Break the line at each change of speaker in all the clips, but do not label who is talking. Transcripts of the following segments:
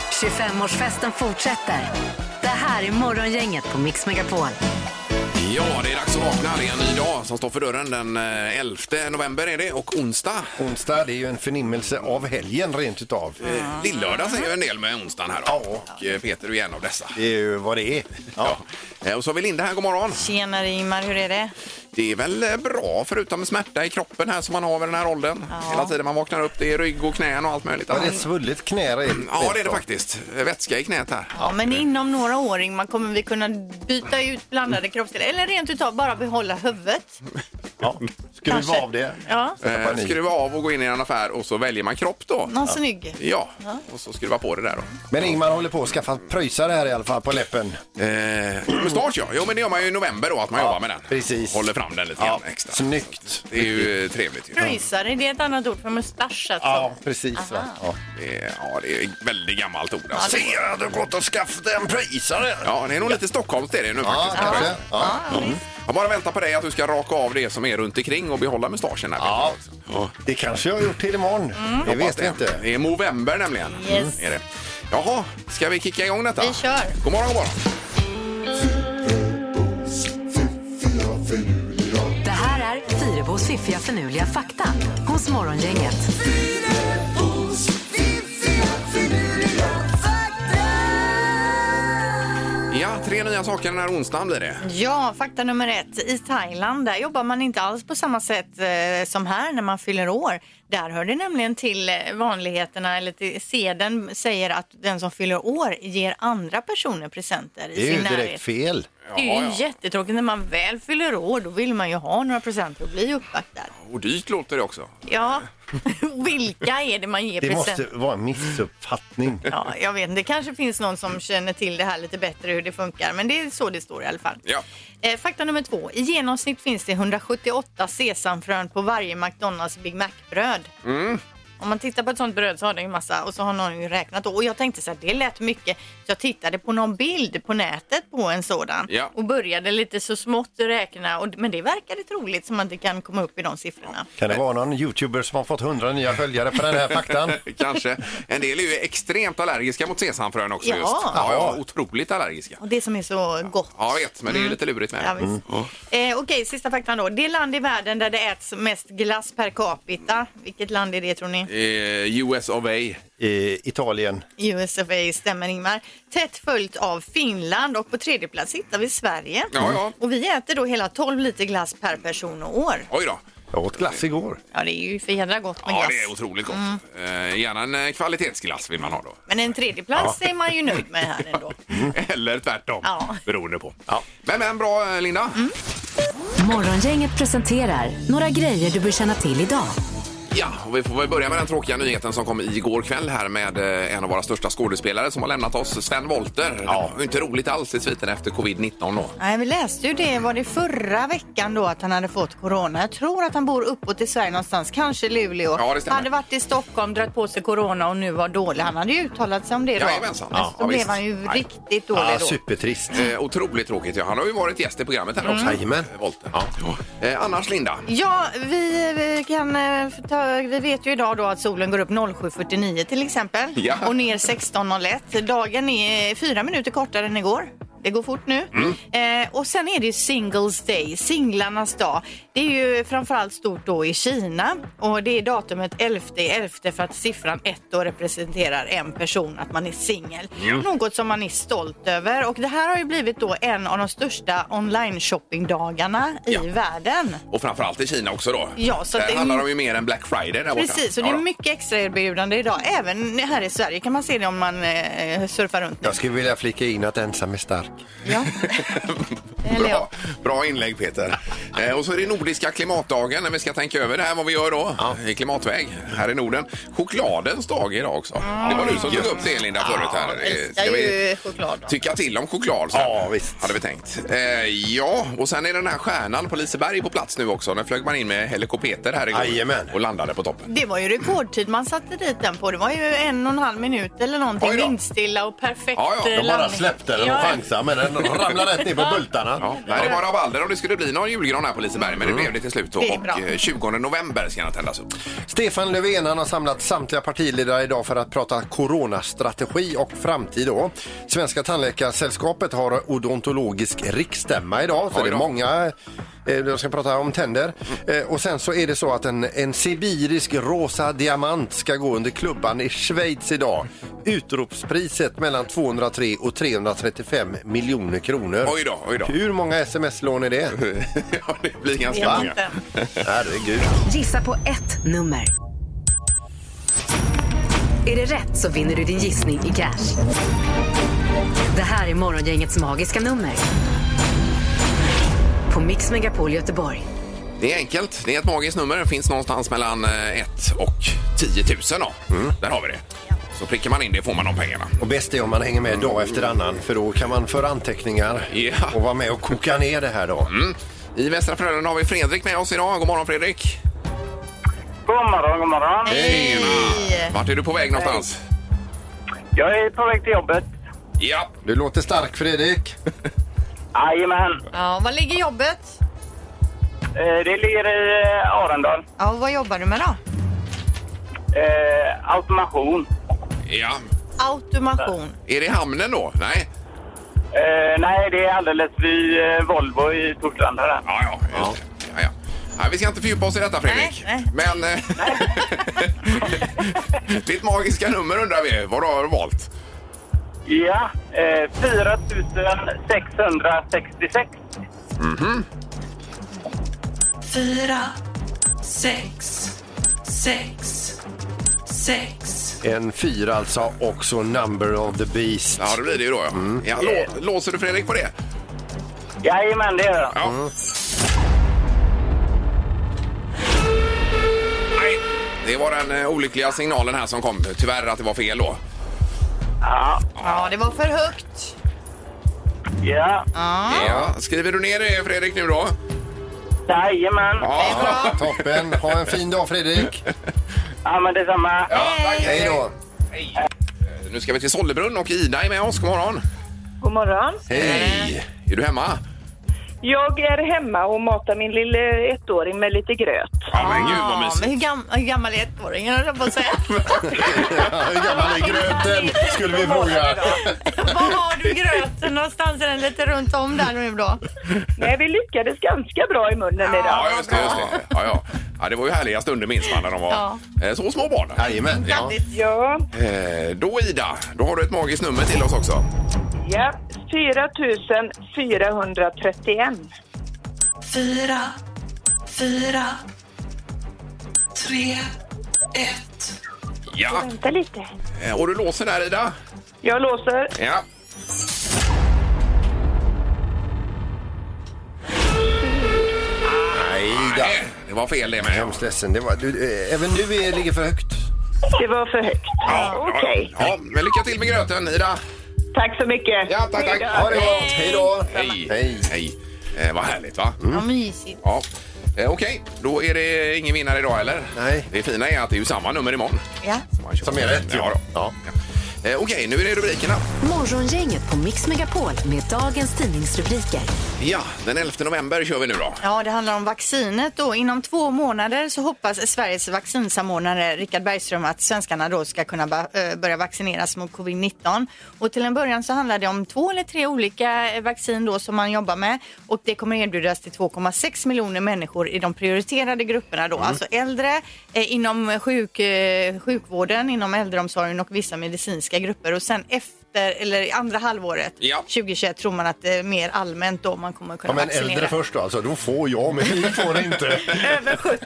25-årsfesten fortsätter. Det här är Morgongänget på Mix Megapol.
Ja, det är dags att vakna. Det är en ny dag som står för dörren. Den eh, 11 november är det och onsdag.
Onsdag, det är ju en förnimmelse av helgen rent utav.
Eh, Lillördag säger ju en del med onsdagen här. då. Och eh, Peter är ju en av dessa.
Det är ju vad det är.
Ja. Eh, Och så har vi Linda här, god morgon.
Tjenare Ingmar, hur är det?
Det är väl eh, bra förutom smärta i kroppen här som man har vid den här åldern. Hela tiden man vaknar upp, det är rygg och knän och allt möjligt.
Var det ett svullet knä?
Mm, Ja, det är det faktiskt. Eh, Vätska i knät här.
Ja, men inom några år Ingmar kommer vi kunna byta ut
Mm.
blandade kroppsdelar eller rent utav bara behålla huvudet.
Ja. Skruva
Kanske.
av det.
Ja,
Sätta
Eh,
panik.
Skruva av och gå in i en affär och så väljer man kropp då.
någon snygg.
Ja, och så skruva på det där då.
Men Ingmar håller på att skaffa pröjsare här i alla fall på läppen.
Eh, mustasch ja, jo men det gör man ju i november då att man jobbar med den.
precis.
Håller fram den lite grann extra.
Snyggt.
Det är ju eh, trevligt ju.
Pröjsare, det är ett annat ord för mustasch alltså.
Ja, precis. Va? Ja.
Det är, ja, det är ett väldigt gammalt ord alltså.
Ser jag att du gått och skaffat en pröjsare?
Ja, det är nog lite Stockholmskt är det nu
Ja,
faktiskt.
kanske. Ja.
Jag bara väntar på dig att du ska raka av det som är runt omkring och behålla mustaschen här.
Ja.
Peter.
Det kanske jag har gjort till imorgon. Det vet jag inte.
Mm. Det är november nämligen. Mm,
Yes.
Är det. Jaha, ska vi kicka igång detta?
Vi kör.
God morgon, god morgon.
Det här är Fyrebos fiffiga förnuliga fakta hos Morgongänget.
Ja, tre nya saker den här onsdagen blir det.
Ja, fakta nummer ett. I Thailand där jobbar man inte alls på samma sätt eh, som här när man fyller år. Där hör det nämligen till eh, vanligheterna, eller till seden säger att den som fyller år ger andra personer presenter i
Det är ju
sin
direkt
närhet.
fel.
Det är ju
Ja, ja.
jättetråkigt när man väl fyller år, då vill man ju ha några presenter och bli uppvaktad.
Och Oh, dyrt låter det också.
Ja, vilka är det man ger
Det måste
presenter?
vara en missuppfattning.
Ja, jag vet inte. Det kanske finns någon som känner till det här lite bättre hur det funkar, men det är så det står i alla fall.
Ja.
Eh, fakta nummer två. I genomsnitt finns det 178 sesamfrön på varje McDonalds Big Mac-bröd.
Mm.
Om man tittar på ett sånt bröd så har det ju massa och så har någon ju räknat då. Och jag tänkte så här, det lät mycket. Så jag tittade på någon bild på nätet på en sådan
Ja.
och började lite så smått räkna. Och, men det verkade troligt som att det kan komma upp i de siffrorna.
Kan det vara någon youtuber som har fått 100 nya följare på den här faktan? Eh,
Kanske. En del är ju extremt allergiska mot sesamfrön också
Ja.
just. Ja, ja, otroligt allergiska.
Och det som är så gott.
Ja, jag vet, men det är ju lite lurigt med
Mm. Ja,
det. Mm.
visst. Eh, Okej, sista faktan då. Det land i världen där det äts mest glass per capita. Vilket land är det tror ni?
Eh, US of A.
I Italien.
USFA stämmer Ingmar. Tätt följt av Finland och på tredje plats hittar vi Sverige.
Ja, ja.
Och vi äter då hela 12 liter glass per person och år.
Oj då.
Jag åt glass igår.
Ja, det är ju för jädra gott med
Ja, det
glass.
är otroligt gott.
Mm.
Eh, gärna en eh, kvalitetsglass vill man ha då.
Men en tredje plats är man ju nöjd med här ändå.
Eller tvärtom,
Ja. Mm.
beroende på. Men, men bra eh, Linda.
Morgongänget presenterar några grejer du bör känna till idag.
Ja, och vi får väl börja med den tråkiga nyheten som kom igår kväll här med eh, en av våra största skådespelare som har lämnat oss, Sven Wollter. Ja. Det var ju inte roligt alls i sviten efter covid-19 då.
Nej, vi läste ju det, var det förra veckan då att han hade fått corona. Jag tror att han bor uppåt i Sverige någonstans, kanske Luleå.
Ja, det stämmer.
hade varit i Stockholm, dragit på sig corona och nu var dålig. Han hade ju uttalat sig om det då.
Jajamensan.
Men
Ja,
så
ja,
blev
visst.
han ju
Nej.
riktigt dålig
Ah,
då.
supertrist.
Eh, otroligt tråkigt. Ja, han har ju varit gäst i programmet här också.
Jajamän.
Eh, Wollter. Ja. Eh, annars Linda.
Mm. Ja, vi, vi, kan, eh, ta, vi vet ju idag då att solen går upp 07.49 till exempel
Ja.
och ner 16.01. Dagen är eh, fyra minuter kortare än igår. Det går fort nu.
Mm.
Eh, och sen är det ju Singles Day, singlarnas dag. Det är ju framförallt stort då i Kina och det är datumet 11.11 för att siffran 1 då representerar en person, att man är singel. Något som man är stolt över och det här har ju blivit då en av de största online shoppingdagarna i
Ja.
världen.
Och framförallt i Kina också då.
Ja, så att
där
det-
handlar de ju mer än Black Friday där
Precis, och
borta.
det är
Ja, då.
mycket extra erbjudande idag. Även här i Sverige kan man se det om man eh, surfar runt. nu.
Jag skulle vilja flika in att ensam är stark.
Ja. Eller ja.
Bra, bra inlägg Peter. Eh, och så är det nordiska klimatdagen när vi ska tänka över det här vad vi gör då i klimatväg här i Norden. Chokladens dag idag också. Det var du som tog upp det Linda förut här. Eh,
älskar ju choklad. då.
tycka till om choklad sen,
Ja, visst.
hade vi tänkt. Eh, ja, och sen är den här stjärnan på Liseberg på plats nu också. Den flög man in med helikopter här igår
Jajamän.
och landade på toppen.
Det var ju rekordtid man satte dit den på. Det var ju en och en halv minut eller någonting.
Oj då.
Vindstilla och perfekt
Ja, ja, de
eh,
bara
landning.
den
Ja,
chansade men den ramlade rätt ner på bultarna.
Ja, nej, det var rabalder om det skulle bli någon julgran här på Liseberg, men det blev det till slut. Då.
Mm. Det är
Och
bra.
eh, 20 november ska den tändas upp.
Stefan Löfven han har samlat samtliga partiledare idag för att prata coronastrategi och framtid. Då. Svenska tandläkarsällskapet har odontologisk riksstämma idag. Så
Oj
det
då. Mm.
är många eh, de ska prata om tänder. Eh, Och sen så är det så att en, en sibirisk rosa diamant ska gå under klubban i Schweiz idag. Utropspriset mellan 203 och 335 miljoner kronor.
Oj då, oj då.
Hur många sms-lån är det?
ja, det blir
Det
ganska
är
många.
inte.
Herregud.
Gissa på ett nummer. Är det rätt så vinner du din gissning i cash. Det här är Morgongängets magiska nummer. På Mix Megapol Göteborg.
Det är enkelt. Det är ett magiskt nummer. Det finns någonstans mellan 1 och 10 000. Då. Mm, Där har vi det. Så prickar man in det får man de pengarna.
Och bäst är om man hänger med dag efter annan för då kan man föra anteckningar
Ja. Mm.
och vara med och koka ner det här då.
I Västra Frölunda har vi Fredrik med oss idag. God morgon Fredrik!
God morgon, god morgon.
Hej.
Vart är du på väg någonstans?
Jag är på väg till jobbet.
Ja,
Du låter stark Fredrik.
Jajamän.
Ja, var ligger jobbet?
Eh, Det ligger i eh, Arendal.
Ja, vad jobbar du med då?
Eh, Automation.
ja.
Automation.
Är det hamnen då? Nej?
Eh, Nej, det är alldeles vid eh, Volvo i Torslanda. där.
Ja, ja. Just det. ja, ja. Nej, vi ska inte fördjupa oss i detta Fredrik.
Nej,
Men... eh, Ditt magiska nummer undrar vi. Vad har du valt?
Ja, eh, 4 666.
fyra, sex, sex, sex.
En fyra alltså och så number of the beast.
Ja, det blir det ju då. Ja. Ja, lå- låser du Fredrik på det?
Jajamän, det gör jag.
Ja. Nej, det var den eh, olyckliga signalen här som kom. Tyvärr att det var fel då.
Ja.
Ja, det var för högt.
ja.
Ja. Skriver du ner det Fredrik nu då?
Jajamän.
Ja.
Toppen. Ha en fin dag Fredrik.
Ja, men detsamma.
Ja, tack.
Hej då.
Nu ska vi till Sollebrunn och Ida är med oss. God morgon!
God morgon.
Hej! Är du hemma?
Jag är hemma och matar min lille ettåring med lite gröt.
Ja, men gud vad
Ja, men hur,
mysigt.
gam hur gammal är ettåringen höll jag på att säga.
Hur gammal är gröten skulle vi fråga.
Var har du gröten någonstans? Är den lite runt om där nu då?
Nej, vi lyckades ganska bra i munnen idag.
Ja, just det. Just det. Ja, ja. ja, det var ju härliga stunder minns man när de var
Ja.
eh, så små barn.
Jajamän. Ja.
Ja,
Eh, Då Ida, då har du ett magiskt nummer till oss också.
ja. 4 431.
Fyra, fyra, tre, ett.
Ja,
Vänta lite.
eh, och du låser där Ida?
Jag låser.
Ja.
Nej, Ida.
Nej, det var fel det med.
Hemskt ledsen. Det var, du, eh, även du är, ligger för högt.
Det var för högt. Okej.
Ja, men lycka till med gröten, Ida.
Tack så mycket.
Ja, tack, tack.
Ha det gott. Hej då.
Hej.
Hej. Mm.
Hej. Eh, vad härligt, va?
Ja, mysigt.
Ja. Eh, Okej, då är det ingen vinnare idag, eller?
Nej.
Det fina är att det är ju samma nummer imorgon.
Ja.
Som, man kör.
Som är rätt,
Ja.
ja.
Då. ja. Eh, Okej, nu är det rubrikerna.
Morgongänget på Mix Megapol med dagens tidningsrubriker.
Ja, den 11 november kör vi nu då.
Ja, det handlar om vaccinet då. Inom två månader så hoppas Sveriges vaccinsamordnare Richard Bergström att svenskarna då ska kunna ba- eh, börja vaccineras mot covid-19. Och till en början så handlar det om två eller tre olika eh, vaccin då som man jobbar med och det kommer erbjudas till 2,6 miljoner människor i de prioriterade grupperna
Mm.
då, alltså äldre eh, inom sjuk, eh, sjukvården, inom äldreomsorgen och vissa medicinska grupper och sen efter eller i andra halvåret
Ja.
2021 tror man att det är mer allmänt då man kommer kunna
Ja, men
vaccinera.
äldre först då alltså. Då får jag, men ni får inte.
Över 70.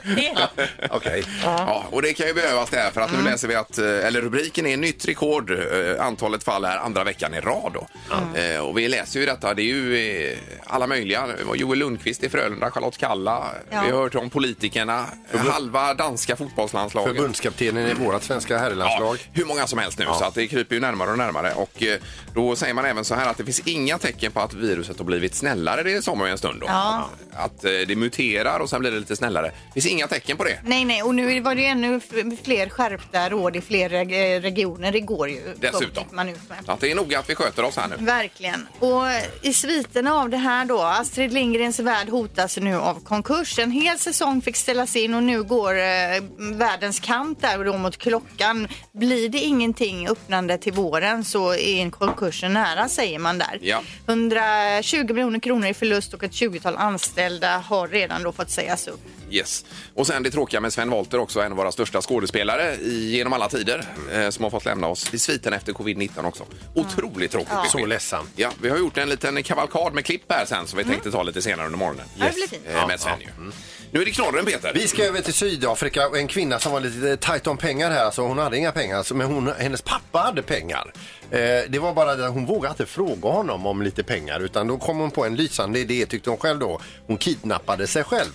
Okej.
Ja, och det kan ju behövas det här för att
Mm.
nu läser vi att, eh, eller rubriken är nytt rekord, eh, antalet fall är andra veckan i rad då.
Mm.
Eh, Och vi läser ju detta, det är ju eh, alla möjliga. Det var Joel Lundqvist i Frölunda, Charlotte Kalla,
Ja.
vi har hört om politikerna, halva danska fotbollslandslaget.
Förbundskaptenen i vårt svenska
Ja,
herrlandslag.
hur många som helst nu, så att det kryper ju närmare och närmare. Och Och eh, då säger man även så här att det finns inga tecken på att viruset har blivit snällare. Det sa man ju en stund då.
Ja.
Att eh, det muterar och sen blir det lite snällare. Det finns inga tecken på det.
Nej, nej, och nu var det ju ännu f- fler skärpta råd i fler reg- regioner. Det går ju.
Dessutom.
gick Man ut med.
Att det är noga att vi sköter oss här nu.
Verkligen. Och i sviterna av det här då, Astrid Lindgrens värld hotas nu av konkurs. En hel säsong fick ställas in och nu går eh, världens kamp där då mot klockan. Blir det ingenting öppnande till våren så är en konkurs nära säger man där.
Ja.
120 miljoner kronor i förlust och ett 20-tal anställda har redan då fått sägas upp.
Yes. Och sen det tråkiga med Sven Wollter också, en av våra största skådespelare i, genom alla tider,
Mm.
eh, som har fått lämna oss i sviten efter covid-19 också. Otroligt tråkigt besked.
Så ledsamt.
Ja, vi har gjort en liten kavalkad med klipp här sen som vi tänkte ta lite senare under morgonen.
Mm. Ja, det blir fint.
Eh, Med Sven ju. Nu är det knorren Peter.
Vi ska över till Sydafrika och en kvinna som var lite tajt om pengar här. Alltså hon hade inga pengar, alltså, men hon, hennes pappa hade pengar. Eh, det var bara det att hon vågade inte fråga honom om lite pengar utan då kom hon på en lysande idé tyckte hon själv då. Hon kidnappade sig själv.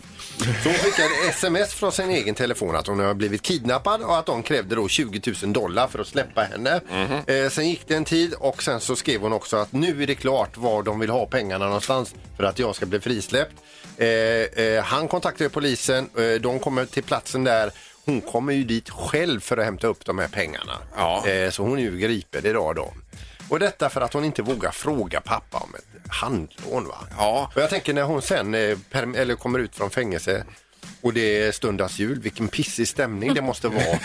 Så hon skickade sms från sin egen telefon att hon har blivit kidnappad och att de krävde då 20 000 dollar för att släppa henne.
Mhm.
eh, sen gick det en tid och sen så skrev hon också att nu är det klart var de vill ha pengarna någonstans för att jag ska bli frisläppt. Eh, eh, han kontaktade polisen, eh, de kommer till platsen där. Hon kommer ju dit själv för att hämta upp de här pengarna.
Ja.
Eh, så hon är ju gripen idag då. Och detta för att hon inte vågar fråga pappa om ett handlån. Va?
Ja.
Och jag tänker när hon sen eh, perm- eller kommer ut från fängelse och det är stundas jul, vilken pissig stämning det måste vara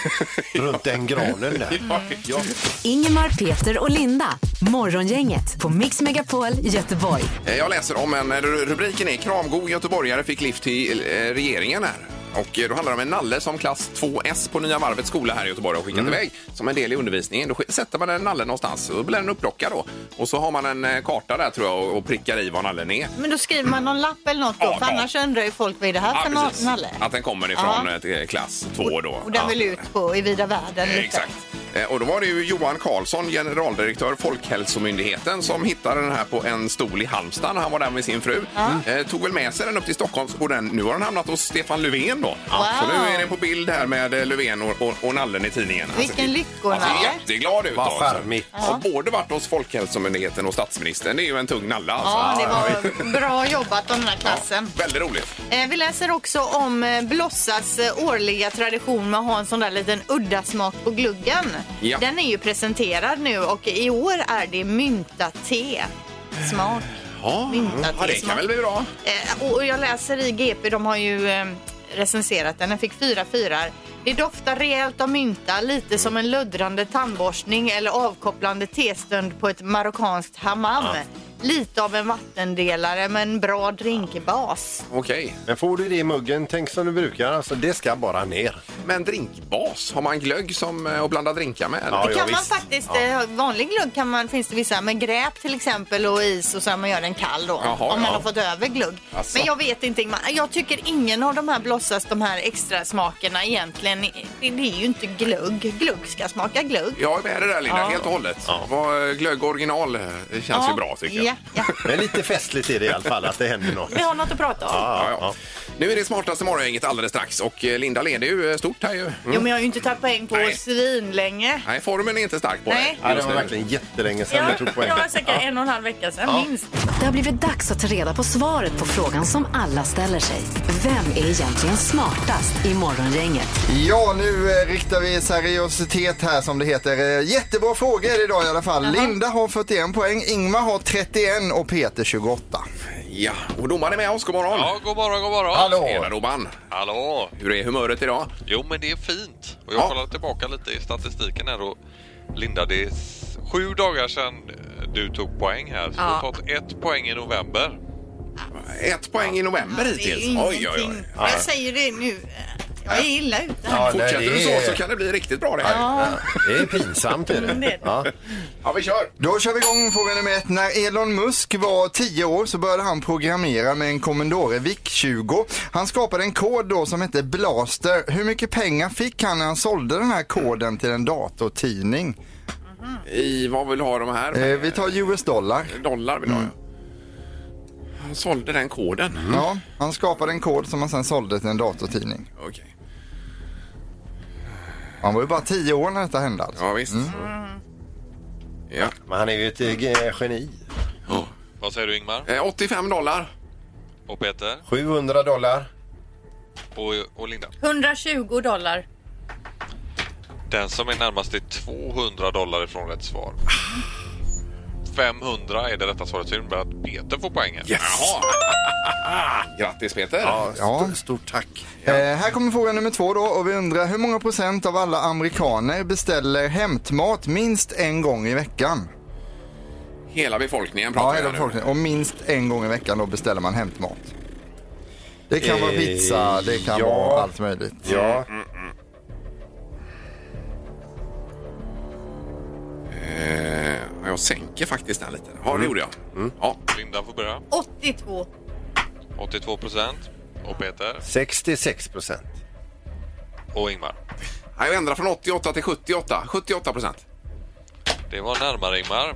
runt den granen där.
Ja.
Ingemar, Peter och Linda. Morgongänget på Mix Megapol Göteborg.
Eh, Jag läser om en, ru- rubriken är Kramgod göteborgare fick lift till eh, regeringen här. Och eh, då handlar det om en nalle som klass 2S på Nya Varvets skola här i Göteborg har skickat iväg som en del i undervisningen. Då sk- sätter man en nalle någonstans och då blir den upplockad då. Och så har man en eh, karta där tror jag och, och prickar i var nallen är.
Men då skriver man någon lapp eller något då,
Ja,
för
ja.
annars undrar ju folk vad är det här för
precis.
någon nalle?
Att den kommer ifrån
Ja.
eh, till klass 2 då.
Och den
Ja.
vill ut på i vida världen lite.
Exakt. Eh, Och då var det ju Johan Karlsson, generaldirektör Folkhälsomyndigheten, som hittade den här på en stol i Halmstad när han var där med sin fru. Eh, Tog väl med sig den upp till Stockholm och den, nu har den hamnat hos Stefan Löfven då. Så nu är den på bild här med eh, Löfven och, och, och nallen i tidningen. Alltså, Han
Vilken
ser-
lyckonalle.
Han ser jätteglad ut.
Vad
också.
charmigt.
Har både varit hos Folkhälsomyndigheten och statsministern. Det är ju en tung nalle alltså.
Ja, det var bra jobbat av den här klassen.
Väldigt roligt.
Eh, Vi läser också om eh, Blossas eh, årliga tradition med att ha en sån där liten udda smak på gluggen.
Ja.
Den är ju presenterad nu och i år är det mynta te. Smak.
Ja,
Myntat liksom.
ja, det
i
kan
smak.
väl bli bra.
Eh, Och jag läser i GP, de har ju eh, recenserat den. Den fick fyra fyrar. Det doftar rejält av mynta, lite som en luddrande tandborstning eller avkopplande testund på ett marockanskt hammam. Lite av en vattendelare med en bra drinkbas.
Okej.
Men får du det i muggen, tänk som du brukar, alltså det ska bara ner.
Men drinkbas, har man glögg som, eh, att blanda drinkar med?
Ja,
Det
ja,
kan man
visst.
faktiskt, eh, vanlig glögg kan man, finns det vissa med gräp till exempel och is och så här, man gör den kall då.
Jaha,
om man
ja.
har fått över glögg.
Asså.
Men jag vet inte, Ingmar. jag tycker ingen av de här blossas, de här extra smakerna egentligen, det, det är ju inte glögg. Glögg ska smaka glögg.
Jag är med det där Linda,
Ja.
helt och hållet. Vad, eh, Glögg original eh, känns ju bra tycker jag.
Ja, ja.
Men lite festligt är det i alla fall att det händer något.
Vi har något att prata om.
Ja, ja. Nu är det smartaste morgongänget alldeles strax och eh, Linda leder ju eh, stort här ju.
Jo, men jag har ju inte tagit poäng på
Nej.
svin länge.
Nej, formen är inte stark på
Nej.
Ja,
dig
det
just
var
nu.
verkligen jättelänge sedan jag tog poäng.
det var säkert en och en halv vecka sedan, minst.
Det har blivit dags att ta reda på svaret på frågan som alla ställer sig. Vem är egentligen smartast i morgongänget?
Ja, nu eh, riktar vi seriositet här som det heter. Eh, Jättebra frågor idag i alla fall. Linda har 41 poäng, Ingmar har 31 och Peter 28.
Ja, och domaren är med oss. God morgon!
Ja, god morgon, god morgon.
Tjena domaren!
Hallå.
Hur är humöret idag?
Jo, men det är fint. Och jag
Ja.
kollar tillbaka lite i statistiken här och Linda, det är s- sju dagar sedan eh, du tog poäng här. Så du har tagit ett poäng i november.
Ett poäng i november
Det är
hittills.
ju ingenting. Jag säger det nu. Jag är illa ute här.
Ja, nej,
Fortsätter du
det
så
är-
så kan det bli riktigt bra det här. Ja,
Det är pinsamt. Är det. Ja.
vi kör!
Då kör vi igång fråga nummer ett. När Elon Musk var 10 år så började han programmera med en Commodore VIC-20. Han skapade en kod då som hette Blaster. Hur mycket pengar fick han när han sålde den här koden till en datortidning?
I vad vill ha de här?
Eh, vi tar US dollar.
Dollar vill ha. ja. Han sålde den koden.
Ja, han skapade en kod som han sen sålde till en datortidning.
Okej.
Han var ju bara 10 år när detta hände alltså.
Ja, visst. Ja.
Men han är ju ett eh, geni.
Ja.
Vad säger du Ingmar?
Eh, 85 dollar.
Och Peter?
700 dollar.
Och, och Linda?
120 dollar.
Den som är närmast är 200 dollar ifrån rätt svar. 500 är det rätta svaret, så det innebär att Peter får poängen.
Yes. Grattis Peter.
Ja.
Stort tack.
Eh, här kommer fråga nummer två då och vi undrar hur många procent av alla amerikaner beställer hämtmat minst en gång i veckan?
Hela befolkningen pratar
Ja,
vi
hela
här nu.
befolkningen. Och minst en gång i veckan då beställer man hämtmat. Det kan vara
Eh,
pizza, det kan
ja.
vara allt möjligt.
Ja.
Eh, jag sänker faktiskt den lite.
Mm.
Ja, det gjorde jag. Ja.
Linda får börja.
82.
82 procent. Och Peter
66 procent.
och Ingmar.
Nej, Jag ändrar från 88 till 78. 78 procent.
Det var närmare Ingmar.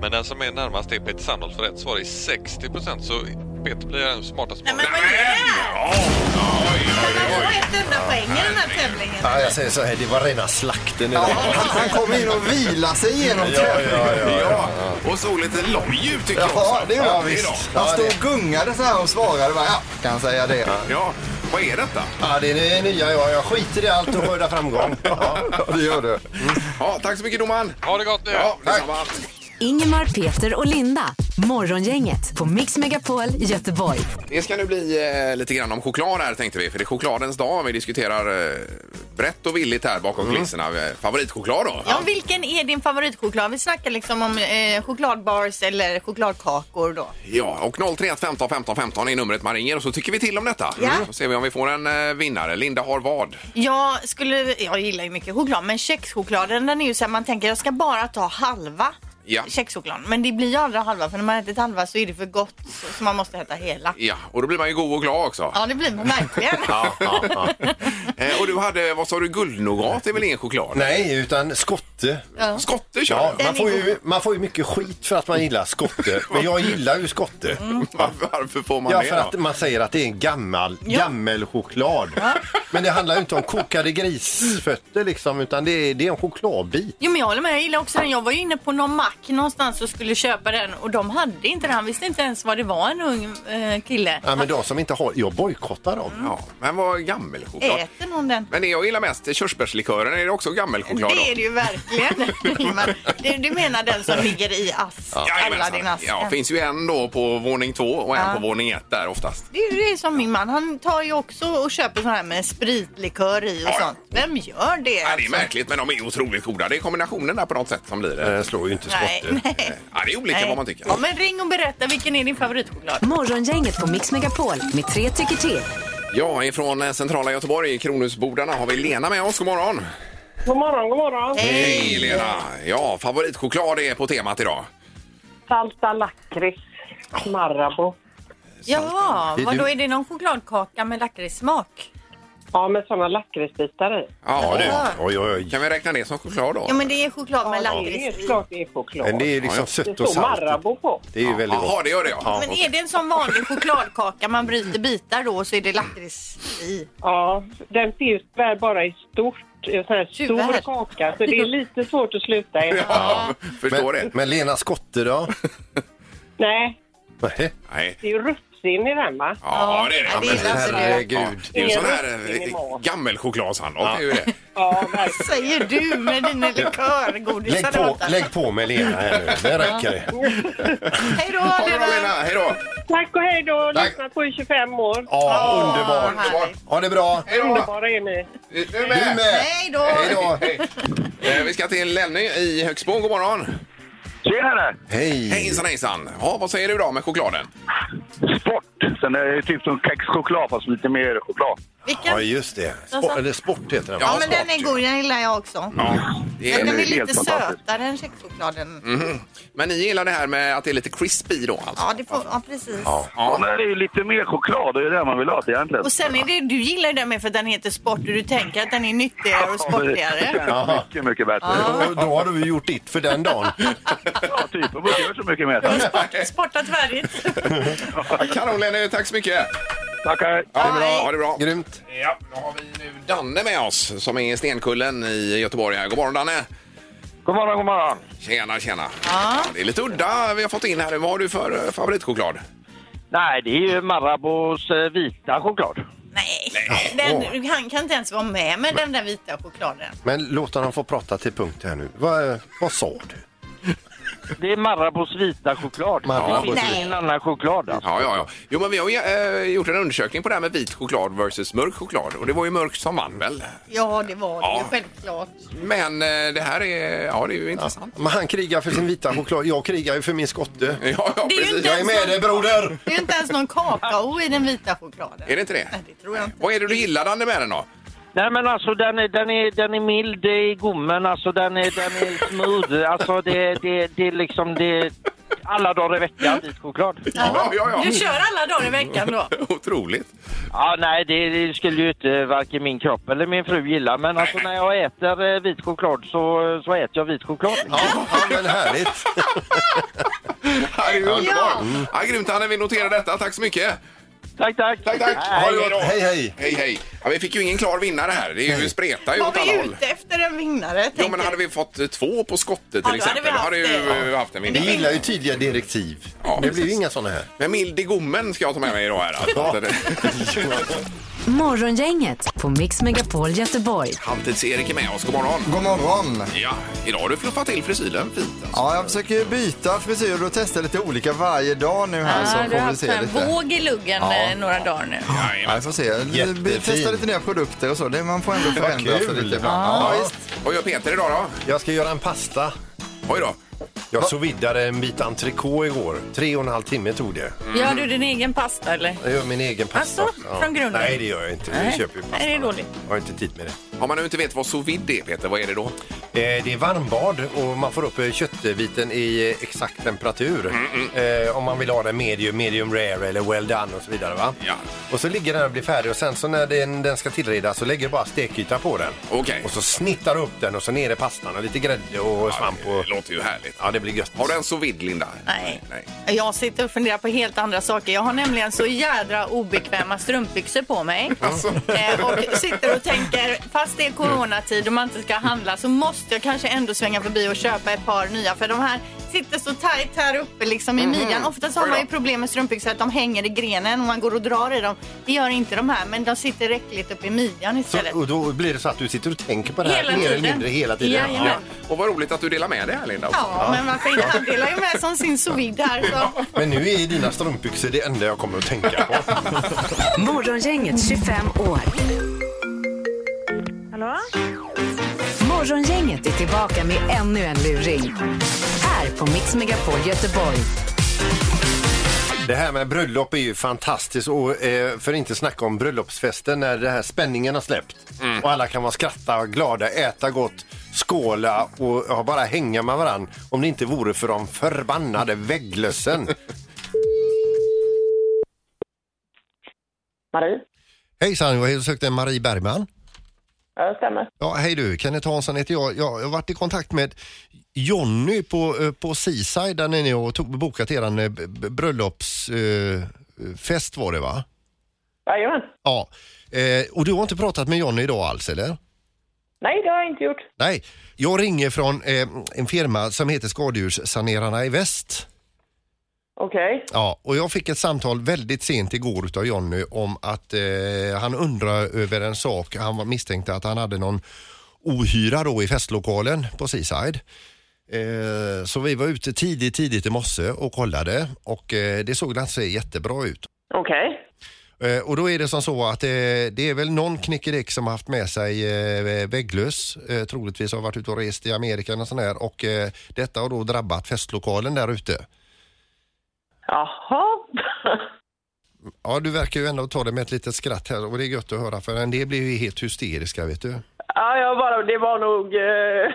Men den som är närmast är Peter Sandholt för rätt svar är 60 procent, så Peter blir den smartaste.
Nej, men vad
svararen.
är det här?
Ja. Oj, oj,
Det var
oj.
ett enda poäng i den här tävlingen.
Ja, jag säger så här, det var rena slakten
Ja,
idag.
han, han kommer in och vila sig igenom
ja,
tävlingen.
ja, ja.
Ja, och så lite lojljud tycker jag
Ja,
också.
det gjorde han
är
visst.
då.
Han
Ja,
stod
det-
och gungade så här och svarade bara, ja, kan säga det.
Ja, vad är detta?
Ja, det är det nya jag. Jag skiter i allt och skördar framgång.
Ja, det gör du.
Ja, tack så mycket domaren.
Ha det gott nu!
Ja,
Tack.
detsamma.
Ingemar, Peter och Linda. Morgongänget på Mix Megapol Göteborg.
Det ska nu bli eh, lite grann om choklad här tänkte vi, för det är chokladens dag. Vi diskuterar eh, brett och villigt här bakom
Mm.
kulisserna. Eh, Favoritchoklad då?
Ja, vilken är din favoritchoklad? Vi snackar liksom om eh, chokladbars eller chokladkakor då.
Ja, och 031 15 15 15 är numret man ringer och så tycker vi till om detta.
Ja.
Så ser vi om vi får en eh, vinnare. Linda har vad?
Jag, skulle, jag gillar ju mycket choklad, men kexchokladen den är ju så här, man tänker jag ska bara ta halva
Ja.
kexchokladen. Men det blir ju aldrig halva för när man ätit halva så är det för gott så, så man måste äta hela.
Ja, och då blir man ju god och glad också.
Ja, det blir man verkligen.
Ja, ja, ja. Eh, och du hade, vad sa du, guldnougat är väl ingen choklad?
Nej, utan skotte.
Ja.
Skotte kör
Ja,
du?
man, får ju, man får ju mycket skit för att man gillar skotte, men jag gillar ju skotte.
Mm.
Varför, varför får man
Ja,
det
för att
då?
man säger att det är en gammal,
Ja.
gammel choklad. Men det handlar ju inte om kokade grisfötter liksom, utan det är, det är en chokladbit.
Jo men jag håller med, jag gillar också den. Jag var ju inne på någon mack någonstans och skulle köpa den och de hade inte den. Han visste inte ens vad det var en ung eh, kille.
Ja, men de som inte har, jag bojkottar dem.
Ja, men vad gammelchoklad.
Äter någon den?
Men det jag gillar mest är körsbärslikören. Är det också gammelchoklad då?
Det är det ju verkligen. Ingmar. du, du menar den som ligger i ask? Alla
Jajamensan.
din ask.
Ja, finns ju en då på våning två och en på våning ett där oftast.
Det är ju det som min man, han tar ju också och köper sån här med spritlikör i och
Ja.
sånt. Vem gör det?
Ja, det är
alltså?
märkligt, men de är otroligt goda. Det är kombinationen där på något sätt som blir det.
Den slår ju inte
Nej,
skotte.
nej.
Ja, det är olika
Eh. nej.
vad man tycker.
Ja, men ring och berätta, vilken är din favoritchoklad?
Morgongänget på Mix Megapol med tre tycker till.
Ja, ifrån eh, centrala Göteborg, Kronhusbodarna, har vi Lena med oss. God morgon!
God morgon, god morgon.
Eh,
Hej Lena! Ja, favoritchoklad är på temat idag.
Salsa lakrits, Marabou.
Jaha,
Det är
vad då
du-
är det någon chokladkaka med lakritssmak?
Ja, med såna lakritsbitar i.
Ja,
Ja, du. Oj, oj, oj.
Kan vi räkna det som choklad då?
Ja, men det är choklad med
Ja, det är
lakrits
helt
i.
klart det är choklad.
Men det är
Ja, ja.
liksom
Det
sött och
står
salt.
Marabou på.
Det är ju väldigt
Jaha,
gott.
det gör det ja.
Men är det en sån vanlig chokladkaka man bryter bitar då och så är det lakrits i?
Ja, den finns tyvärr bara i stort. En sån här
Tyvärr.
stor kaka, så det är lite svårt att sluta i.
Ja, förstår
Men,
det.
men Lena Skotte då?
Nej,
Nej.
Nej.
det är ju russin i den, va?
Ja, det är det.
Ja, det
men-
är gillar inte det.
Ja,
Herregud.
det är ju sån här
Ingen
eh,
mat.
gammelchokladshandlag. Det är ju det.
Ja, verkligen.
Säger du med dina likörgodisar
Lägg
där
på,
borta.
lägg på med Lena här nu. Det räcker det.
Hej då
Ha det bra
Lena!
Lena, hej då!
Tack och hej då.
Tack.
Lyssnat på i 25 år.
Ja, underbart.
härligt.
Ha det bra.
Hej då!
Underbara är ni.
Du
Du
med!
med.
Hej då!
Hej då.
Eh, Vi ska till Lenny i Högsbo. God morgon!
Tjenare!
Hej.
Hejsan hejsan! Ja, vad säger du då med chokladen?
Sport! Sen är det typ som kexchoklad fast lite mer choklad.
Ja,
Vilken?
just det. Sport, eller sport heter den.
Ja,
Ja,
men den
smart
är
ju.
god, den gillar jag också.
Ja, det är,
Men den är
helt
lite
fantastisk.
sötare än kexchokladen.
Men ni gillar det här med att det är lite crispy då alltså?
Ja, det får, ja, precis.
Ja, men det är ju lite mer choklad. Det är det man vill ha till egentligen.
Och sen är det, du gillar ju den med för att den heter sport och du tänker att den är nyttigare och
Det
sportigare.
känns mycket, mycket bättre. Ja,
Då, då har du gjort ditt för den dagen.
typ. Man behöver inte så mycket mer.
Sporta tvärnit.
Kanon Lenny, eh, tack så mycket!
Tackar.
Ha det bra!
Hej.
Ha det bra.
Grymt.
Ja, då har vi nu Danne med oss som är i Stenkullen i Göteborg. Här. God morgon Danne!
God morgon, god morgon.
Tjena, tjena. Ja, det är lite udda vi har fått in här. Vad har du för eh, favoritchoklad?
Nej, det är ju Marabos eh, vita choklad.
Nej, den, han kan inte ens vara med med den där vita chokladen.
Men låt honom få prata till punkt här nu. Vad, vad sa du?
Det är Marabos vita choklad.
Marabos
det finns
vita.
ingen annan choklad. Alltså.
Ja, ja, ja. Jo, men vi har ju, eh, gjort en undersökning på det här med vit choklad versus mörk choklad. Och det var ju mörk som vann väl?
Ja, det var det
Ja.
ju självklart.
Men eh, det här är, ja, det är ju intressant.
Men han krigar för sin vita choklad. Jag krigar ju för min skotte.
Ja, ja,
Det är ju
precis.
inte-
Jag är med dig broder!
Det är ju inte ens någon kakao i den vita chokladen.
Är det inte det?
Nej, det tror jag inte.
Vad är det du gillar Danne med den då?
Nej, men alltså den är, den är, den är mild i gommen. Alltså den är, den är smooth. Alltså det, det, det är liksom det... Alla dagar i veckan, vit choklad.
Ja, ja,
Du kör alla dagar i veckan då?
ja. Otroligt.
Ja, nej, det, det skulle ju inte varken min kropp eller min fru gilla. Men alltså när jag äter eh, vit choklad så, så äter jag vit choklad.
Ja, men härligt.
Ja, det är ju underbart. Ja, grymt Danne, vi noterar detta. Tack så mycket.
Tack, tack!
Tack, tack.
Ha det gott. Hej, hej.
Hej, hej. Ja, vi fick ju ingen klar vinnare här. Det är ju, vi spretar ju
Var
åt alla
vi
håll.
ute efter en vinnare?
Jo, men hade vi fått eh, två på skottet till
då hade
exempel,
vi haft
då hade
det.
ju eh, haft en
Vi
vinnare.
gillar ju tydliga direktiv.
Ja,
det
precis.
blir ju inga såna här.
Men mild i gommen ska jag ta med mig idag här. Alltså.
Morgongänget på Mix Megapol Göteborg.
Halvtids-Erik är med oss. God morgon.
God morgon!
Ja, idag har du fluffat till frisyren fint. Alltså.
Ja, jag försöker ju byta frisyr och testa lite olika varje dag nu här så
du har
får vi
haft
se
en
lite.
våg i luggen eh, några dagar nu.
Ja, vi får se.
Jättefin.
Testa lite nya produkter och så. Det, man får ändå förändra sig
kul.
lite ibland. Ja, visst.
Vad gör Peter idag då?
Jag ska göra en pasta.
Oj då.
Jag så vidare en bit entrecote igår. Tre och en halv timme tog det.
Gör du din egen pasta eller?
Jag gör min egen pasta.
Alltså, från grunden?
Nej, det gör jag inte.
Nej.
Jag köper ju pasta.
Nej, det är dåligt.
Jag har inte tid med det.
Om man nu inte vet vad sous vide är Peter, vad är det då?
Eh, Det är varmbad och man får upp eh, köttbiten i eh, exakt temperatur.
Mm,
Eh, Om man vill ha den medium, medium rare eller well done och så vidare. Va?
Ja.
Och så ligger den och blir färdig och sen så när den, den ska tillredas så lägger du bara stekyta på den.
Okej.
Och så snittar du upp den och så ner i pastan och lite grädde och svamp. Och...
Det låter ju härligt.
Ja, det blir gött.
Har du en sous vide Linda?
Nej. Jag sitter och funderar på helt andra saker. Jag har nämligen så jädra obekväma strumpbyxor på mig.
Alltså.
Eh, och sitter och tänker, fast det är coronatid och man inte ska handla så måste jag kanske ändå svänga förbi och köpa ett par nya. För de här sitter så tajt här uppe liksom i midjan. Ofta så har
Oj
man
då.
ju problem med strumpbyxor att de hänger i grenen och man går och drar i dem. Det gör inte de här, men de sitter räckligt upp i midjan
Så,
istället.
och då blir det så att du sitter och tänker på det här
Hela
mer eller
tiden.
mindre hela tiden.
Jajamän.
Och vad roligt att du delar med dig här Linda. också.
Ja, men varför inte? Han delar ju med som sin sous vide här. Så.
Men nu är dina strumpbyxor det enda jag kommer att tänka på.
Morgongänget 25 år.
Hallå?
Morgongänget är tillbaka med ännu en luring. Här på Mix Megapol Göteborg.
Det här med bröllop är ju fantastiskt och eh, för inte snacka om bröllopsfesten när det här spänningen har släppt och alla kan vara skratta, glada, äta gott, skåla och ja, bara hänga med varann om det inte vore för de förbannade vägglössen.
Marie?
Hejsan, jag sökte Marie Bergman.
Ja, det stämmer.
Ja, hej du, Kenneth Hansson heter jag. Jag har varit i kontakt med Jonny på, eh, på Seaside där ni har tog- bokat eh, er bröllopsfest eh, var det va?
Jajamän.
Ja, eh, och du har inte pratat med Jonny idag alls eller?
Nej, det har jag inte gjort.
Nej, jag ringer från eh, en firma som heter Skadedjurssanerarna i väst.
Okej.
Ja, och jag fick ett samtal väldigt sent igår utav Jonny om att eh, han undrar över en sak. Han var misstänkte att han hade någon ohyra då i festlokalen på Seaside. Eh, så vi var ute tidigt, tidigt i morse och kollade och eh, det såg ganska jättebra ut.
Okej.
Eh, Och då är det som så att eh, det är väl någon knickedick som har haft med sig eh, vägglöss, eh, troligtvis har varit ute och rest i Amerika och sån här och eh, detta har då drabbat festlokalen där ute.
Jaha.
Ja, du verkar ju ändå ta det med ett litet skratt här och det är gött att höra för en del blir ju helt hysteriska vet du.
Ja, jag bara, det var nog eh,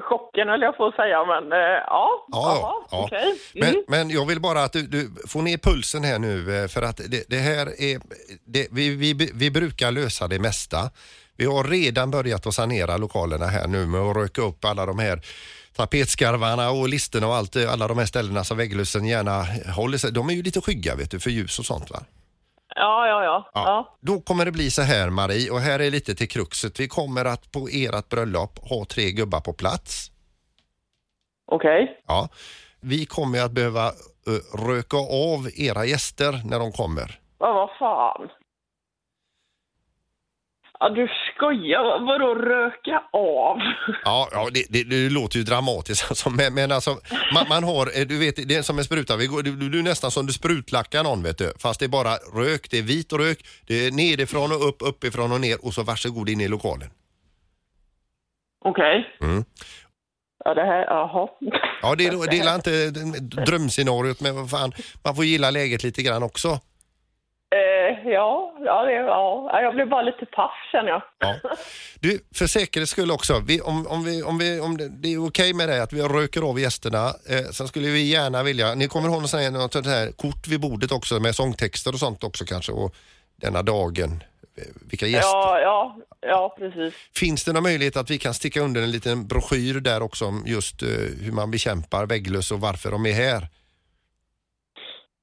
chocken höll jag på att säga, men eh, ja. Jaha, Okej. Mm.
Men, men jag vill bara att du, du får ner pulsen här nu eh, för att det, det här är, det, vi, vi, vi brukar lösa det mesta. Vi har redan börjat att sanera lokalerna här nu med att röka upp alla de här tapetskarvarna och listerna och allt, eh, alla de här ställena som vägglössen gärna håller sig. De är ju lite skygga vet du för ljus och sånt va?
Ja, ja, ja. ja.
Då kommer det bli så här Marie och här är lite till kruxet. Vi kommer att på ert bröllop ha tre gubbar på plats.
Okej.
Ja. Vi kommer att behöva eh, röka av era gäster när de kommer.
Ja, vad fan. Ja, du skojar. Vadå röka av?
Ja, ja det, det, det låter ju dramatiskt alltså, men, men alltså man, man har, eh, du vet, det är som en spruta, vi går, du, du, du är nästan som du sprutlackar någon vet du, fast det är bara rök, det är vit rök, det är nedifrån och upp, uppifrån och ner och så varsågod in i lokalen.
Okej.
Mm.
Ja, det här... Jaha.
Ja, det, är- det är inte drömscenariot, men vad fan, man får gilla läget lite grann också.
Eh, ja, ja, det, ja. Ja, jag blev bara lite paff känner jag.
Ja. Du, för säkerhets skull också, vi, om, om, vi, om, vi, om det, det är okej med dig att vi röker av gästerna, eh, sen skulle vi gärna vilja, ni kommer ihåg något sånt här- något sånt här kort vid bordet också med sångtexter och sånt också kanske, och denna dagen, eh, vilka gäster.
Ja, ja, ja, precis.
Finns det någon möjlighet att vi kan sticka under en liten broschyr där också om just eh, hur man bekämpar vägglöss och varför de är här?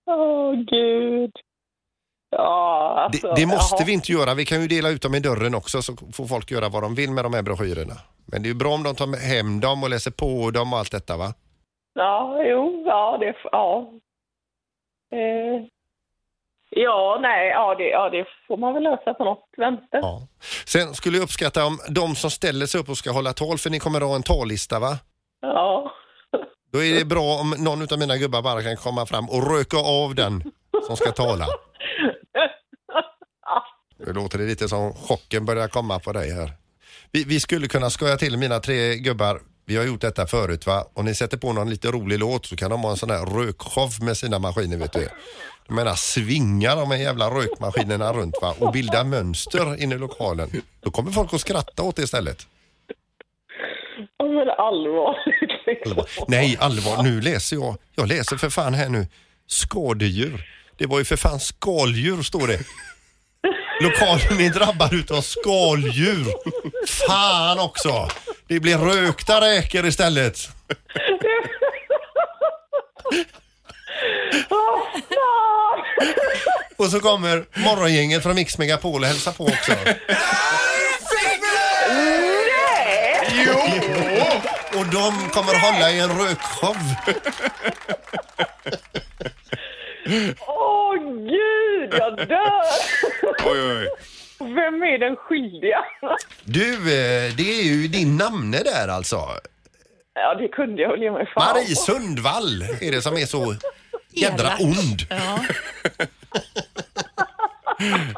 Åh, gud. Ja, alltså...
Det, det måste
jaha.
vi inte göra. Vi kan ju dela ut dem i dörren också så får folk göra vad de vill med de här broschyrerna. Men det är ju bra om de tar med hem dem och läser på dem och allt detta va?
Ja, jo, ja, det... Ja. Eh, ja, nej, ja det, ja, det får man väl lösa på något vänster.
Ja. Sen skulle jag uppskatta om de som ställer sig upp och ska hålla tal, för ni kommer att ha en tallista va?
Ja.
Då är det bra om någon av mina gubbar bara kan komma fram och röka av den som ska tala. Nu låter det lite som chocken börjar komma på dig här. Vi, vi skulle kunna skoja till mina tre gubbar. Vi har gjort detta förut va? Och ni sätter på någon lite rolig låt så kan de ha en sån här rökshow med sina maskiner vet du. De menar svingar de här jävla rökmaskinerna runt va? Och bilda mönster inne i lokalen. Då kommer folk att skratta åt det istället.
Ja, men allvarligt liksom.
Nej, allvar. Nu läser jag. Jag läser för fan här nu. Skadedjur. Det var ju för fan skaldjur står det. Lokalen är drabbad utav skaldjur. Fan också. Det blir rökta räkor istället.
Vad fan!
Och så kommer morgongänget från Mix Megapol och hälsar på också.
Nej!
Och de kommer hålla i en rökshow.
Åh gud, jag dör!
Oj, oj, oj.
Vem är den skyldiga?
Du, eh, det är ju din namne där alltså.
Ja, det kunde jag väl ge mig fan
Marie Sundvall är det som är så jädra
Elak.
ond.
Ja.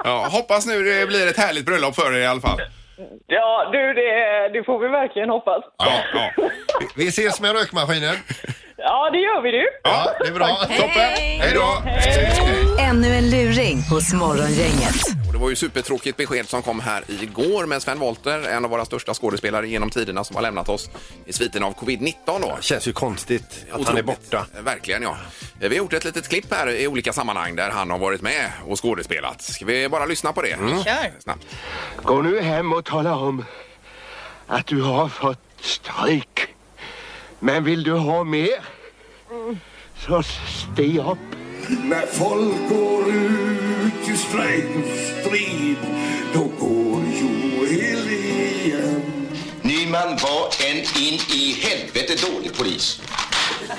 Ja, hoppas nu det blir ett härligt bröllop för er i alla fall.
Ja, du, det, det får vi verkligen hoppas.
Ja, ja.
Vi ses med rökmaskinen.
Ja, det gör vi du.
Ja, det är bra. Toppen. Hej då.
Ännu en luring hos Morgongänget.
Och det var ju supertråkigt besked som kom här igår med Sven Wollter, en av våra största skådespelare genom tiderna som har lämnat oss i sviten av covid-19 då.
Känns ju konstigt att han är
Otroligt. Eh,
borta.
Verkligen, ja. Vi har gjort ett litet klipp här i olika sammanhang där han har varit med och skådespelat. Ska vi bara lyssna på det?
Mm.
Kör.
Snabbt.
Gå nu hem och tala om att du har fått stryk. Men vill du ha mer? Så stig upp.
När folk går ut i strejk och strid, då går Joel igen.
Nyman var en in i helvete dålig polis.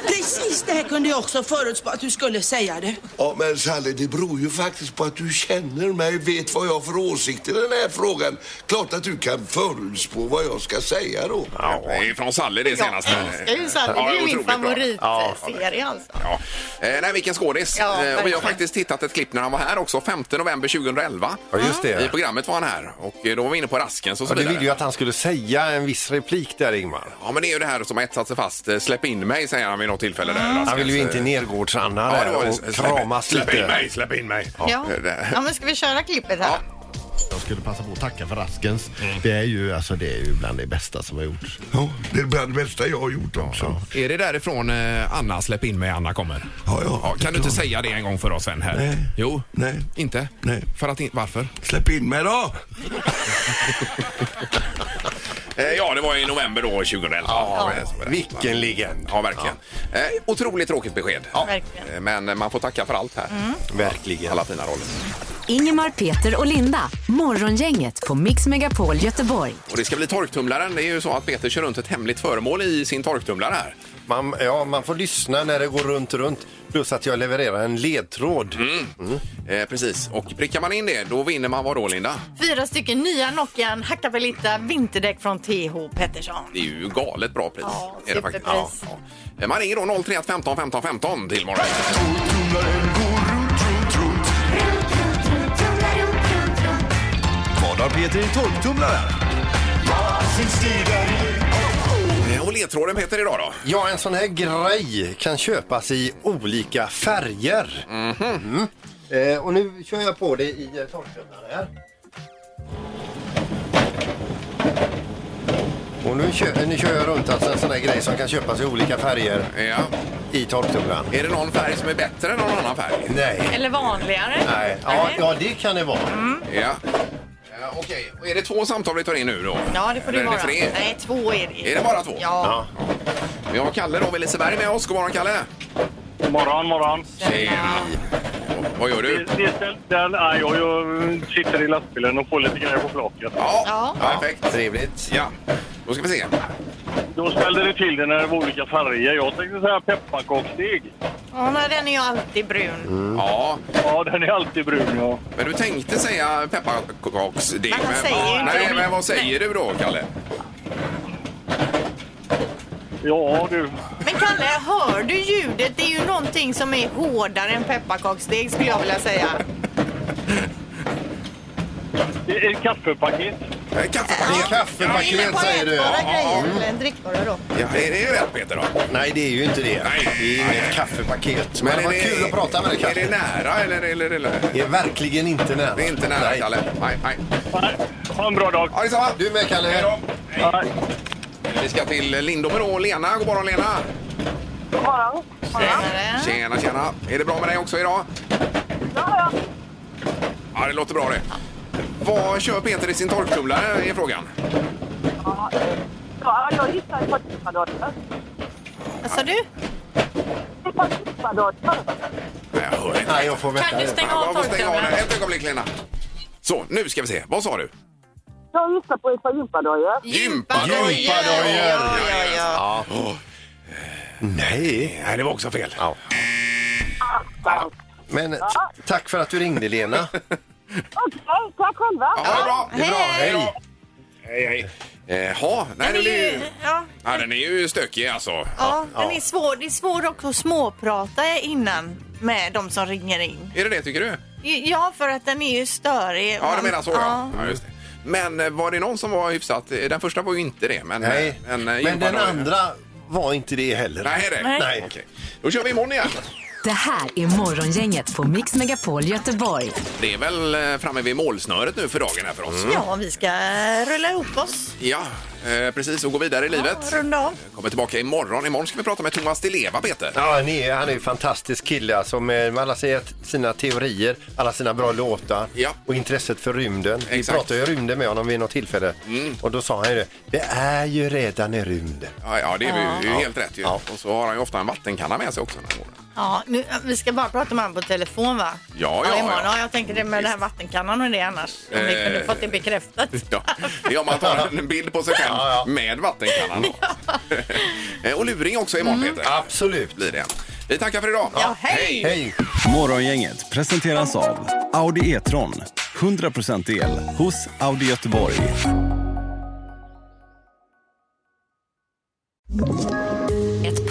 Precis det här kunde jag också förutspå att du skulle säga det.
Ja, men Sally, det beror ju faktiskt på att du känner mig, vet vad jag har för åsikter i den här frågan. Klart att du kan förutspå vad jag ska säga då.
Ja, det är från Salle det senaste.
Det är ju sant.
Alltså,
Det
Ja,
är ju min
otroligt bra.
favoritserie alltså.
Ja. Eh, nej, vilken skådis.
Ja,
eh, och vi har
verkligen.
faktiskt tittat ett klipp när han var här också, 5 november 2011.
Ja, just det.
I programmet var han här och eh, då var vi inne på Raskens och så
Ja, du
vidare.
ville ju att han skulle säga en viss replik där, Ingmar.
Ja, men det är ju det här som har etsat sig fast. eh, Släpp in mig, säger han vid något tillfälle. Där, Raskens.
Han ville ju inte nergårdsanna
Ja, det
där
var
och kramas
släpp, Släpp in
lite.
mig, släpp in mig.
Ja.
det där.
ja, men ska vi köra klippet här?
Jag skulle passa på att tacka för Raskens. Det, är ju, alltså, det är ju bland det bästa som har gjorts.
Ja, det är bland det bästa jag har gjort också.
Är det därifrån eh, Anna, släpp in mig, Anna kommer?
Ja, ja.
kan du inte säga det en gång för oss sen här?
Nej.
Jo.
Nej.
Inte?
Nej.
För att in- varför?
Släpp in mig då!
Eh, ja, det var i november då, 2011. Ja,
Vilken legend.
Ja, verkligen. Eh, otroligt tråkigt besked.
Verkligen.
Eh, Men man får tacka för allt här.
Verkligen.
Alla fina roller.
Ingemar, Peter och Linda. Morgongänget på Mix Megapol Göteborg.
Och det ska bli torktumlaren. Det är ju så att Peter kör runt ett hemligt föremål i sin torktumlare här.
Man, ja, man får lyssna när det går runt, runt. Plus att jag levererar en ledtråd.
Eh, precis. Och prickar man in det, då vinner man vad då, Linda?
Fyra stycken nya Nokian Hakkapeliitta vinterdäck från TH Pettersson.
Det är ju galet bra pris.
Ja,
är det faktiskt.
superpris.
Ja, ja. Eh, Man ringer då 031 15 15 15 till morgon.
Vad har Peter i torktumlaren?
Eh, Och ledtråden Peter idag då?
Ja, en sån här grej kan köpas i olika färger.
Mhm.
Mm. Eh, och nu kör jag på det i eh, torktumlaren här. Och nu kör, nu kör jag runt alltså en sån här grej som kan köpas i olika färger i torktumlaren.
Är det någon färg som är bättre än någon annan färg?
Nej.
Eller vanligare. Mm.
Nej. Ja, ja, det kan det vara.
Ja. Eh, Okej, och är det två samtal vi tar in nu då?
Ja, det får det
Eller
vara.
är det tre?
Nej, två är det ju.
Är det bara två?
Ja.
Vi har Kalle då, vid Liseberg med oss. God morgon Kalle!
Morgon, morgon.
Tjena. Vad gör du?
Den, nej, jag, jag sitter i lastbilen och får lite grejer på flaket.
Ja. Perfekt. Trevligt. Ja, då ska vi se.
Då ställde det till det när det var olika färger. Jag tänkte säga pepparkaksstig.
Ja, nej, den är ju alltid brun.
Mm. Ja.
ja, den är alltid brun. Ja.
Men du tänkte säga pepparkaksdeg.
Men han
men-
säger ju inte
Nej,
det.
men vad säger du då Kalle? Eh,
Ja, du.
Men Kalle, hör du ljudet? Det är ju någonting som är hårdare än pepparkaksdeg skulle jag vilja säga.
Det är ett Eh, kaffepaket.
Kaffepaket?
Kaffepaket säger du.
Bara
ja.
grejer eller en drickvara då.
Ja, är det rätt Peter då?
Nej, det är ju inte det. det är ju ett kaffepaket. Men, det var kul att prata med dig
Är
Kalle.
det nära eller? eller, eller?
Det är verkligen inte nära.
Det är inte nära
Nej.
Kalle. Nej, nej.
Ha en bra dag.
Ja, detsamma.
Du med Kalle. Hej då.
Vi ska till Lindome då. Lena, god morgon Lena.
God morgon.
Tjena, tjena. Är det bra med dig också idag?
Ja, ja.
Ja, det låter bra det. Vad kör Peter i sin torktumlare är frågan.
Ja, jag gissar på tippadotter.
Vad sa du?
Nej, jag hör inte.
Nej, jag får vänta.
Kan du stänga
Ja,
av
jag får stänga av
torktumlaren?
den. Ett ögonblick Lena. Så, nu ska vi se. Vad sa du?
Jag gissar på ett par gympadojor.
Gympadojor!
Ja, ja,
ja. Nej. Nej, det var också fel. Ja.
Men t- tack för att du ringde Lena.
Okej, tack själva.
Ha det bra.
Det är bra. Hej.
Hej, hej. Eh, ha. Nej,
Den
den,
är
är ju...
ju- ja.
Ja, den är ju stökig alltså.
Ja, den är svår. Det är svårt också att småprata innan med de som ringer in.
Är det det tycker du?
Ja, för att den är ju störig.
Ja, Mm. du menar så ja. ja just det. Men eh, var det någon som var hyfsat? eh, Den första var ju inte det. Men,
Nej.
eh, en, eh,
Men den
gympadag-
andra var inte det heller.
Nej, det.
Nej.
Nej. Okej. Då kör vi imorgon igen.
Det här är Morgongänget på Mix Megapol Göteborg.
Det är väl eh, framme vid målsnöret nu för dagen här för oss.
Ja, vi ska rulla ihop oss.
Ja, eh, precis. Och gå vidare i livet.
Runda av.
Kommer tillbaka imorgon. Imorgon ska vi prata med Thomas Di Leva, Peter.
Ja, han är, han är en fantastisk kille alltså, med med alla sina- sina teorier, alla sina bra låtar och intresset för rymden. Vi
Exakt.
pratade ju rymden med honom vid något tillfälle och då sa han ju det. Det är ju redan i rymden.
Ja, ja det är ju- det är ju
Ja.
helt rätt ju. Och så har han ju ofta en vattenkanna med sig också. när han går.
Ja, nu, vi ska bara prata med honom på telefon va?
Ja, ja,
imorgon.
ja.
jag tänker det med den här vattenkannan och det annars. Om vi
Eh.
kunde fått det bekräftat.
Ja, det är om man tar en bild på sig själv med vattenkannan. då. Eh, Och luring också imorgon, Peter.
Absolut.
Blir det. Vi tackar för idag.
Ja, hej!
Hej!
Morgongänget presenteras av Audi E-tron. 100% el hos Audi Göteborg.
Ett